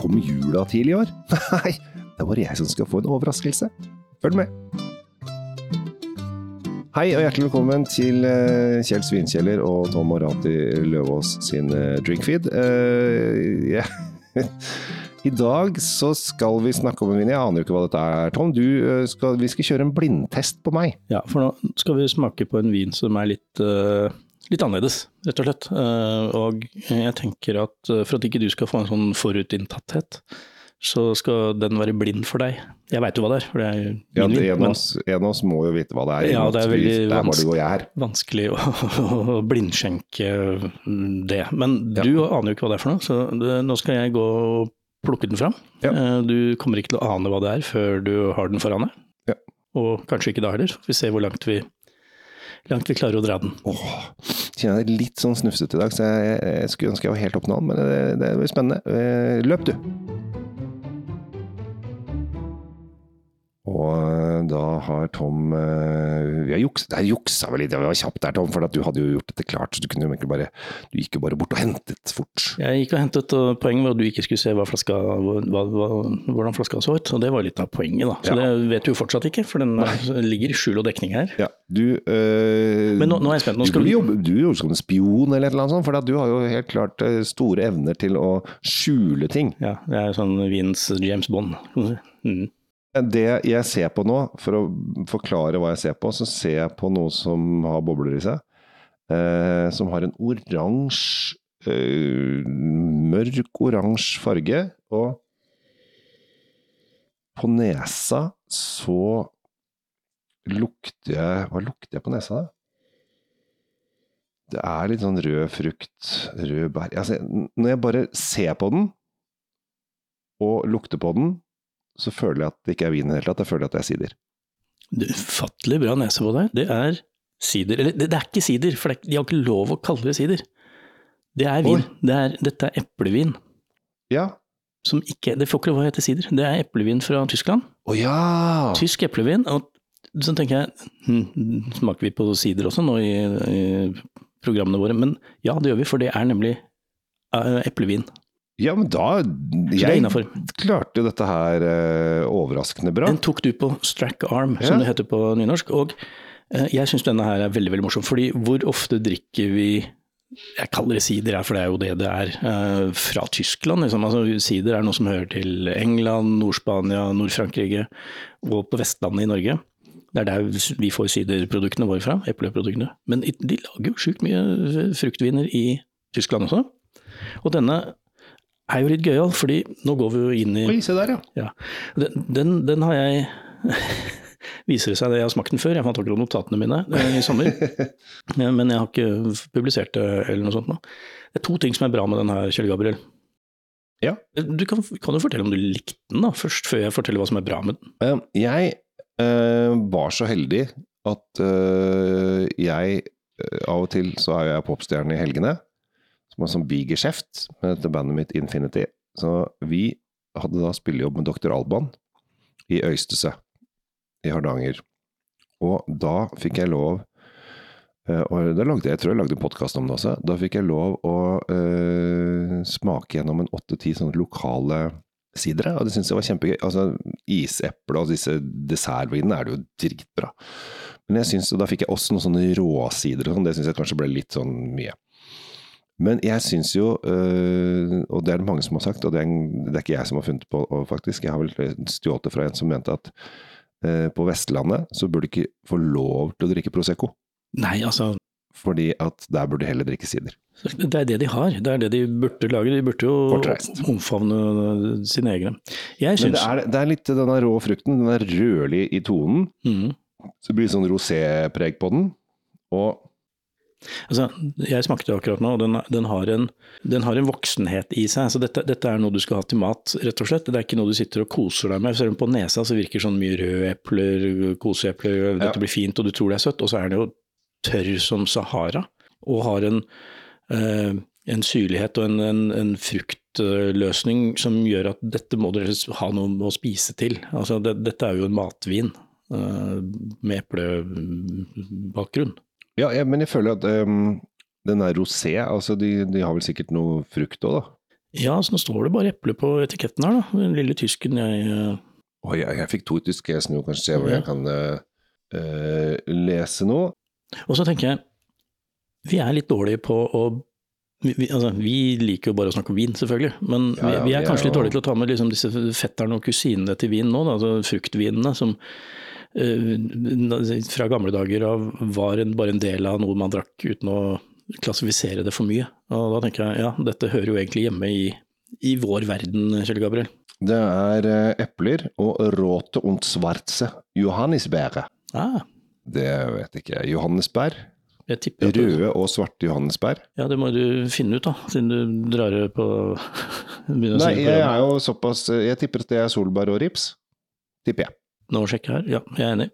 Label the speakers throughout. Speaker 1: Kommer jula tidlig i år? Nei, det er bare jeg som skal få en overraskelse. Følg med! Hei og hjertelig velkommen til eh, Kjell Svinkjeller og Tom Morati Løvaas sin eh, drinkfeed. Eh, ja. I dag så skal vi snakke om en vin. Jeg aner jo ikke hva dette er, Tom. Du, eh, skal, vi skal kjøre en blindtest på meg.
Speaker 2: Ja, for nå skal vi smake på en vin som er litt, eh, litt annerledes, rett og slett. Eh, og jeg tenker at eh, for at ikke du skal få en sånn forutinntatthet, så skal den være blind for deg. Jeg veit jo hva det er, for det er jo min
Speaker 1: Ja,
Speaker 2: vin,
Speaker 1: en, av
Speaker 2: men
Speaker 1: oss, en av oss må jo vite hva det er. i og
Speaker 2: Ja,
Speaker 1: med
Speaker 2: det
Speaker 1: at
Speaker 2: er
Speaker 1: vi-
Speaker 2: veldig
Speaker 1: Det er bare
Speaker 2: vanskelig.
Speaker 1: du og jeg her.
Speaker 2: vanskelig å, å blindskjenke mm, det. Men
Speaker 1: Ja.
Speaker 2: du aner jo ikke hva det er for noe, så det, nå skal jeg gå og plukke den fram.
Speaker 1: Ja.
Speaker 2: Eh, du kommer ikke til å ane hva det er før du har den foran deg.
Speaker 1: Ja.
Speaker 2: Og kanskje ikke da heller. Vi ser hvor langt vi, langt vi klarer å dra den.
Speaker 1: Åh, kjenner jeg er litt sånn snufsete i dag, så jeg, jeg skulle ønske jeg var helt opp nå, men det, det blir spennende. Eh, Løp, du! Og eh, da har Tom eh, Vi har juksa, der juksa vi litt. Vi var kjapt der, Tom, for at du hadde jo gjort dette klart. Så du kunne jo egentlig bare Du gikk jo bare bort og hentet fort.
Speaker 2: Jeg gikk og hentet, og poenget var at du ikke skulle se hva flaska, hva, hva, hvordan flaska så ut. Og det var litt av poenget, da. Så
Speaker 1: Ja.
Speaker 2: det vet du jo fortsatt ikke, for den eh, ligger i skjul og dekning her.
Speaker 1: Ja, du eh,
Speaker 2: Men nå, nå er jeg spent. Nå
Speaker 1: Du
Speaker 2: skal
Speaker 1: burde
Speaker 2: du,
Speaker 1: jobbe, du jobber som en spion eller et eller annet sånt, for at du har jo helt klart eh, store evner til å skjule ting.
Speaker 2: ja, det er sånn Vins James Bond. Mm.
Speaker 1: Det jeg ser på nå, for å forklare hva jeg ser på, så ser jeg på noe som har bobler i seg. Eh, som har en oransje eh, Mørk oransje farge. Og på nesa så lukter jeg Hva lukter jeg på nesa, da? Det er litt sånn rød frukt, rød bær altså, Når jeg bare ser på den, og lukter på den, så føler jeg at det ikke er vin i det hele tatt. Jeg føler at det er sider.
Speaker 2: Du, Ufattelig bra nese på deg. Det er sider. Eller det, det er ikke sider, for det er, de har ikke lov å kalle det sider. Det er vin.
Speaker 1: Oi.
Speaker 2: Det er, dette er eplevin.
Speaker 1: Ja.
Speaker 2: Som ikke, det får ikke lov å hete sider. Det er eplevin fra Tyskland.
Speaker 1: Å ja!
Speaker 2: Tysk eplevin. Og så tenker jeg, hm, smaker vi på sider også nå i, i programmene våre? Men ja, det gjør vi, for det er nemlig eh, eplevin.
Speaker 1: Ja, men da
Speaker 2: Så det er
Speaker 1: Jeg
Speaker 2: innafor.
Speaker 1: klarte jo dette her eh, overraskende bra.
Speaker 2: Den tok du på strack arm,
Speaker 1: Ja.
Speaker 2: som det heter på nynorsk. Og eh, jeg syns denne her er veldig veldig morsom, fordi hvor ofte drikker vi jeg kaller det sider, her, for det er jo det det er. eh, Fra Tyskland, liksom. Altså, sider er noe som hører til England, Nord-Spania, Nord-Frankrike og på Vestlandet i Norge. Det er der vi får siderproduktene våre fra, epleproduktene. Men i- de lager jo sjukt mye fruktviner i Tyskland også. Og denne er jo litt gøyal, fordi nå går vi jo inn i
Speaker 1: Oi, se der, ja.
Speaker 2: ja. Den, den, den har jeg Viser det seg det, jeg har smakt den før. Jeg fant akkurat notatene mine eh, i sommer. Ja, Men jeg har ikke publisert det eller noe sånt nå. Det er to ting som er bra med den her, Kjell Gabriel. Eh,
Speaker 1: Ja.
Speaker 2: Du kan, kan jo fortelle om du likte den da, først, før jeg forteller hva som er bra med den.
Speaker 1: Eh, Jeg eh, var så heldig at eh, jeg eh, Av og til så er jeg popstjerne i helgene, som har sånn bigeskjeft med dette bandet mitt Infinity. Så vi hadde da spillejobb med Dr. Alban i Øystese i Hardanger. Og da fikk jeg lov eh, og da lagde jeg, jeg tror jeg lagde podkast om det også. Da fikk jeg lov å eh, smake gjennom en åtte-ti sånne lokale sidere, og det syntes jeg var kjempegøy. Altså, iseple og disse dessertvinene er det jo dritbra. Men jeg synes, og da fikk jeg også noen sånne råsider og sånn, det syns jeg kanskje ble litt sånn mye. Men jeg syns jo, øh, og det er det mange som har sagt, og det er, en- det er ikke jeg som har funnet på og faktisk, jeg har vel øh, stjålet det fra en som mente at øh, på Vestlandet så burde du ikke få lov til å drikke Prosecco,
Speaker 2: Nei, altså.
Speaker 1: fordi at der burde du heller drikke sider.
Speaker 2: Det er det de har. Det er det de burde lage. De burde
Speaker 1: Kortreist.
Speaker 2: jo omfavne eh, sine egne. Jeg
Speaker 1: Men
Speaker 2: syns
Speaker 1: det er, det er litt denne rå frukten, den er rødlig i tonen,
Speaker 2: mm.
Speaker 1: så det blir sånn rosépreg på den. Og
Speaker 2: Altså, jeg smakte akkurat nå, og den, den, har en, den har en voksenhet i seg. Så dette, dette er noe du skal ha til mat, rett og slett. Det er ikke noe du sitter og koser deg med. Selv om på nesa så virker sånn mye røde epler, koseepler, dette
Speaker 1: Ja.
Speaker 2: blir fint, og du tror det er søtt. Og så er den jo tørr som Sahara, og har en, eh, en syrlighet og en, en, en fruktløsning som gjør at dette må dere ha noe å spise til. Altså, det, dette er jo en matvin. eh, Med eplebakgrunn.
Speaker 1: Ja, jeg, men jeg føler at ehm, den er rosé, altså de, de har vel sikkert noe frukt òg, da.
Speaker 2: Ja, så nå står det bare eple på etiketten her, da. Den lille tysken jeg eh,
Speaker 1: Oi, jeg, jeg fikk to tyske, jeg snur kanskje se hvor jeg kan eh, eh, lese nå.
Speaker 2: Og så tenker jeg, vi er litt dårlige på å vi, vi- altså, vi liker jo bare å snakke om vin, selvfølgelig, men
Speaker 1: Ja, ja,
Speaker 2: vi, vi er
Speaker 1: vi er
Speaker 2: kanskje litt
Speaker 1: jo-
Speaker 2: dårlige til å ta med liksom, disse fetterne og kusinene til vin nå, da, altså fruktvinene som eh, fra gamle dager av var en, bare en del av noe man drakk uten å klassifisere det for mye. Og da tenker jeg ja, dette hører jo egentlig hjemme i, i vår verden, Kjell Gabriel.
Speaker 1: Det er eh, epler og råte und svartse. Johannisbære.
Speaker 2: Ah,
Speaker 1: Det vet ikke jeg. Johannesbær.
Speaker 2: jeg tipper at du,
Speaker 1: Røde og svarte johannesbær.
Speaker 2: Ja, det må du finne ut, da, siden du drar det på begynner å
Speaker 1: Nei,
Speaker 2: se
Speaker 1: jeg
Speaker 2: programmet.
Speaker 1: er jo såpass eh, Jeg tipper at det er solbær og rips. Tipper jeg.
Speaker 2: Nå sjekker jeg her. Ja, jeg er enig.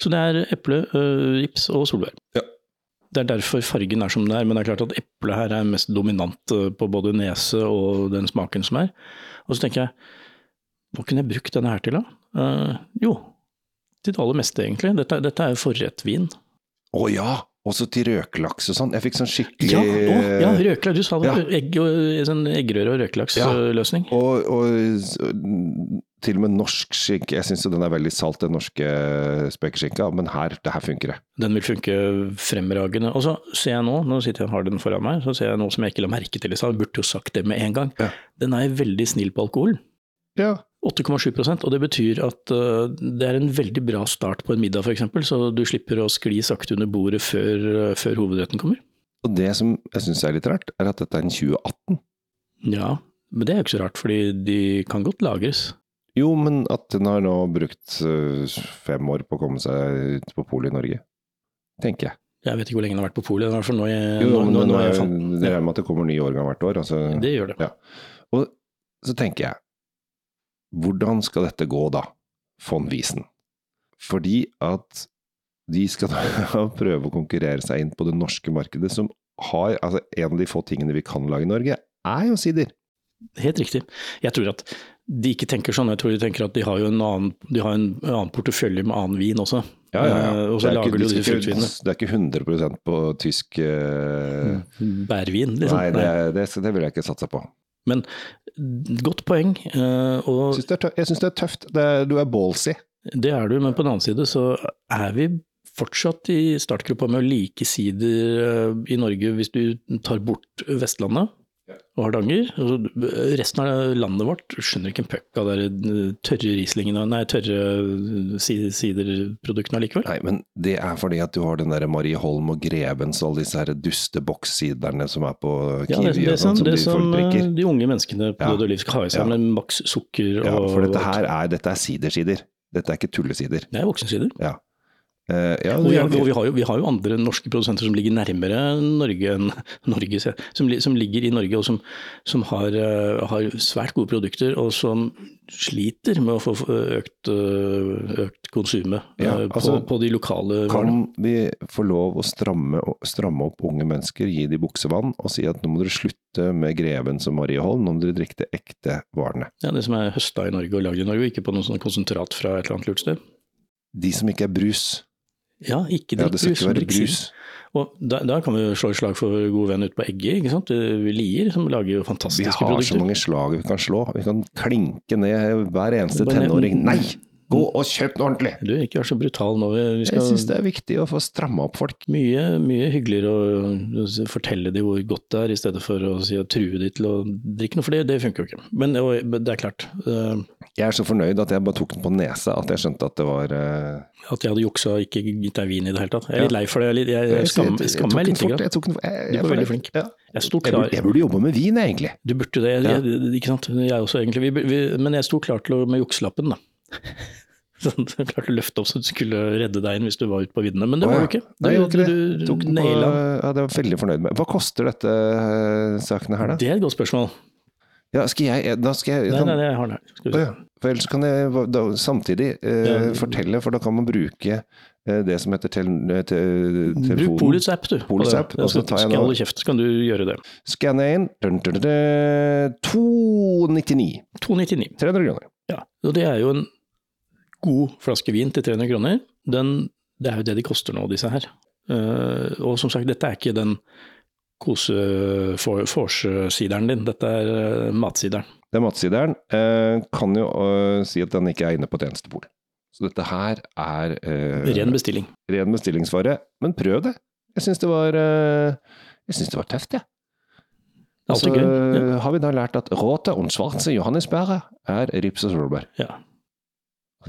Speaker 2: Så det er eple, øh, rips og solbær.
Speaker 1: Ja.
Speaker 2: Det er derfor fargen er som den er, men det er klart at eplet her er mest dominant øh, på både nese og den smaken som er. Og så tenker jeg, hva kunne jeg brukt denne her til da? Eh, jo, til det aller meste egentlig. Dette, dette er jo forrettvin.
Speaker 1: Å ja! Også til røkelaks og sånn. Jeg fikk sånn skikkelig
Speaker 2: Ja, å, ja røkelaks. Du sa det.
Speaker 1: Ja.
Speaker 2: Egg og, sånn eggerøre og
Speaker 1: Ja.
Speaker 2: røkelaksløsning.
Speaker 1: Og, og s- til og med norsk skinke. Jeg syns jo den er veldig salt, den norske spekeskinka, men her, det her funker det.
Speaker 2: Den vil funke fremragende. Og så ser jeg nå, nå sitter jeg og har den foran meg, så ser jeg noe som jeg ikke la merke til i stad, burde jo sagt det med en gang.
Speaker 1: Ja.
Speaker 2: Den er veldig snill på alkohol.
Speaker 1: Ja.
Speaker 2: 8,7 og det betyr at øh, det er en veldig bra start på en middag f.eks., så du slipper å skli sakte under bordet før, øh, før hovedretten kommer.
Speaker 1: Og det som jeg syns er litt rart, er at dette er en 2018.
Speaker 2: Ja, men det er jo ikke så rart, fordi de kan godt lagres.
Speaker 1: Jo, men at den har nå brukt øh, fem år på å komme seg ut på polet i Norge, tenker jeg.
Speaker 2: Jeg vet ikke hvor lenge den har vært på polet, i hvert fall nå jeg,
Speaker 1: Jo,
Speaker 2: nå,
Speaker 1: men
Speaker 2: nå,
Speaker 1: den
Speaker 2: nå
Speaker 1: er,
Speaker 2: jeg fant
Speaker 1: det regner med at det kommer nye årgang hvert år. Altså,
Speaker 2: Det gjør det.
Speaker 1: så tenker jeg, hvordan skal dette gå da, von Wiesen? Fordi at de skal da prøve å konkurrere seg inn på det norske markedet, som har altså En av de få tingene vi kan lage i Norge, er jo sider.
Speaker 2: Helt riktig. Jeg tror at de ikke tenker sånn, jeg tror de tenker at de har jo en annen, de har en annen portefølje med annen vin også. Eh, Og så
Speaker 1: Det er
Speaker 2: lager
Speaker 1: ikke-
Speaker 2: de jo
Speaker 1: det skal
Speaker 2: disse
Speaker 1: ikke-
Speaker 2: fruktvinene.
Speaker 1: Det er ikke 100 på tysk eh,
Speaker 2: Mm. Bærvin, liksom.
Speaker 1: Nei, det, det, det vil jeg ikke satse på.
Speaker 2: Nei. Godt poeng, eh,
Speaker 1: Jeg
Speaker 2: og
Speaker 1: syns det, er tø- jeg synes det er tøft. Det er, du er ballsy.
Speaker 2: det er du, men på den annen side så er vi fortsatt i startgruppa med å like sider eh, i Norge hvis du tar bort Vestlandet og Hardanger. Og så eh, Resten av landet vårt skjønner ikke en puck av de der tørre Rieslingene, nei, tørre eh, si- siderproduktene allikevel.
Speaker 1: Nei, men det er fordi at du har den der Marie Holm og Grevens og alle disse her dustebokssiderne som er på
Speaker 2: Ja,
Speaker 1: Kiwi
Speaker 2: det, det,
Speaker 1: og sånn,
Speaker 2: som,
Speaker 1: som
Speaker 2: det
Speaker 1: de
Speaker 2: som
Speaker 1: folk drikker.
Speaker 2: eh, de unge menneskene på
Speaker 1: Ja.
Speaker 2: Døde Liv skal ha i seg,
Speaker 1: Ja.
Speaker 2: med maks sukker og
Speaker 1: Ja, for dette her er, dette er sidersider. Dette er ikke tullesider.
Speaker 2: Det er voksensider.
Speaker 1: Eh, ja,
Speaker 2: Og vi, har,
Speaker 1: det-
Speaker 2: og vi, har jo, vi har jo andre norske produsenter som ligger nærmere Norge enn Norge, se- som, li- som ligger i Norge og som, som har, eh, har svært gode produkter, og som sliter med å få eh, økt, eh, økt konsumet eh,
Speaker 1: Ja, altså,
Speaker 2: på, på de lokale varene.
Speaker 1: kan vi få lov å stramme, stramme opp unge mennesker, gi de buksevann og si at nå må dere slutte med Grevens og Marie Holm, nå må dere drikke de ekte varene.
Speaker 2: Ja, det som er høsta i Norge og lagd i Norge, og ikke på noe sånn konsentrat fra et eller annet lurt sted.
Speaker 1: De som ikke er brus.
Speaker 2: Ja, ikke
Speaker 1: Ja,
Speaker 2: drikk
Speaker 1: det skal
Speaker 2: brus,
Speaker 1: ikke være
Speaker 2: drikk sider.
Speaker 1: brus.
Speaker 2: Og da, da kan vi jo slå et slag for vår gode venn ute på Egge, ikke sant? Eh, Vi Lier, som lager jo
Speaker 1: Vi
Speaker 2: fantastiske
Speaker 1: har så
Speaker 2: Altså, produkter.
Speaker 1: mange slag vi kan slå. Vi kan klinke ned hver eneste
Speaker 2: Bare-
Speaker 1: tenåring. Nei! Gå og kjøp noe ordentlig!
Speaker 2: Du, ikke vær så brutal nå. Vi vi
Speaker 1: Jeg
Speaker 2: skal
Speaker 1: syns det er viktig å få stramma opp folk.
Speaker 2: mye, mye hyggeligere å fortelle de hvor godt det er, i stedet for å si å true de til å drikke noe, for det, det funker jo ikke. Men og, men det er klart, eh,
Speaker 1: Jeg er så fornøyd at jeg bare tok den på nesa, at jeg skjønte at det var eh,
Speaker 2: at jeg hadde juksa og ikke gitt deg vin i det hele tatt. Jeg er litt lei for det, jeg, er litt- jeg, jeg
Speaker 1: jeg- jeg-
Speaker 2: skammer
Speaker 1: jeg tok
Speaker 2: skam meg
Speaker 1: den
Speaker 2: litt.
Speaker 1: fort,
Speaker 2: Grann.
Speaker 1: Jeg tok den fort. Jeg,
Speaker 2: Du
Speaker 1: jeg
Speaker 2: var veldig
Speaker 1: føler-
Speaker 2: flink.
Speaker 1: Ja.
Speaker 2: Jeg sto
Speaker 1: Jeg,
Speaker 2: klar.
Speaker 1: burde, jeg burde jobbe med vin, jeg, egentlig.
Speaker 2: Du burde det,
Speaker 1: Ja.
Speaker 2: jeg, ikke sant? Jeg også egentlig. Vi, vi, men jeg sto klar til å med jukselappen, da. Sånn, så klarte å løfte opp så du skulle redde deg inn hvis du var ute på viddene, men det
Speaker 1: Å,
Speaker 2: var
Speaker 1: ja.
Speaker 2: du ikke.
Speaker 1: Nei, jeg gjorde ikke
Speaker 2: du,
Speaker 1: Jeg
Speaker 2: du,
Speaker 1: Tok
Speaker 2: du
Speaker 1: den på,
Speaker 2: naila.
Speaker 1: ja, det var jeg veldig fornøyd med. Hva koster dette eh, sakene her, da?
Speaker 2: Det er et godt spørsmål.
Speaker 1: Ja, skal jeg, da skal jeg,
Speaker 2: Nei,
Speaker 1: kan,
Speaker 2: nei, det har den her. Skal vi
Speaker 1: Å
Speaker 2: se.
Speaker 1: ja. For ellers kan jeg da, samtidig eh,
Speaker 2: Ja.
Speaker 1: fortelle, for da kan man bruke eh, det som heter tel, eh, te,
Speaker 2: Bruk
Speaker 1: telefonen.
Speaker 2: Polets app, du.
Speaker 1: Polets app,
Speaker 2: og så tar jeg
Speaker 1: den.
Speaker 2: Skal holde kjeft, så kan du gjøre det.
Speaker 1: Skanne inn. Dun, dun, dun, dun. 299.
Speaker 2: 299.
Speaker 1: 300 kroner.
Speaker 2: Ja, og det er jo en god flaske vin til 300 kroner. Den, det er jo det de koster nå, disse her. Eh, og som sagt, dette er ikke den koseforsideren din. Dette er eh, matsideren.
Speaker 1: Det er matsideren. Eh, kan jo eh, si at den ikke er inne på tjenestebol. Så dette her er eh,
Speaker 2: Ren bestilling.
Speaker 1: ren bestillingsvare. Men prøv det. Jeg syns det var eh, jeg synes det var tøft, jeg.
Speaker 2: Det er
Speaker 1: Så
Speaker 2: alltid gøy. Ja.
Speaker 1: eh, har vi da lært at råte og svartse johannisbære er rips og solbær.
Speaker 2: Ja.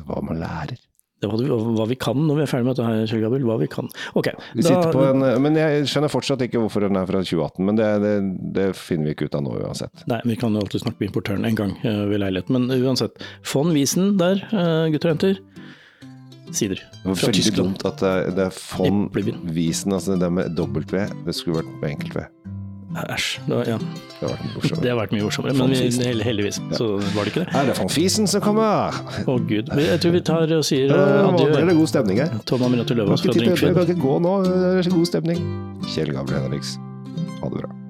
Speaker 1: Hva man lærer.
Speaker 2: Det var det- hva vi kan når vi er ferdig med dette her, Kjell Gabriel. Hva vi kan. Ok.
Speaker 1: Vi sitter på en, eh, men jeg skjønner fortsatt ikke hvorfor den er fra 2018, men det, det, det finner vi ikke ut av nå uansett.
Speaker 2: Nei, vi kan jo alltid snakke med importøren en gang eh, ved leiligheten. Men uansett. Von Wiesen der, eh, gutter og jenter. Sider.
Speaker 1: Det var
Speaker 2: Fra
Speaker 1: veldig
Speaker 2: Tyskland.
Speaker 1: dumt at det, er- det er von
Speaker 2: Eplevin.
Speaker 1: Wiesen, altså det der med W, det skulle vært med enkelt V.
Speaker 2: Æsj. Det, var- ja.
Speaker 1: Det hadde vært
Speaker 2: det
Speaker 1: morsomt.
Speaker 2: har vært mye morsommere,
Speaker 1: Von
Speaker 2: men vi,
Speaker 1: Wiesen.
Speaker 2: hell- heldigvis så var det ikke det.
Speaker 1: Er det von Fiesen som kommer?
Speaker 2: Å gud. Vi- Jeg tror vi tar og sier eh,
Speaker 1: Ja, nå ble det
Speaker 2: adjø.
Speaker 1: god stemning her.
Speaker 2: Tom Aminato
Speaker 1: Kan
Speaker 2: Løvaas
Speaker 1: ikke,
Speaker 2: fra
Speaker 1: tippe,
Speaker 2: Drinkfeed.
Speaker 1: kan ikke gå nå, det er så god stemning. Kjell Gabriel Henriks, ha det bra.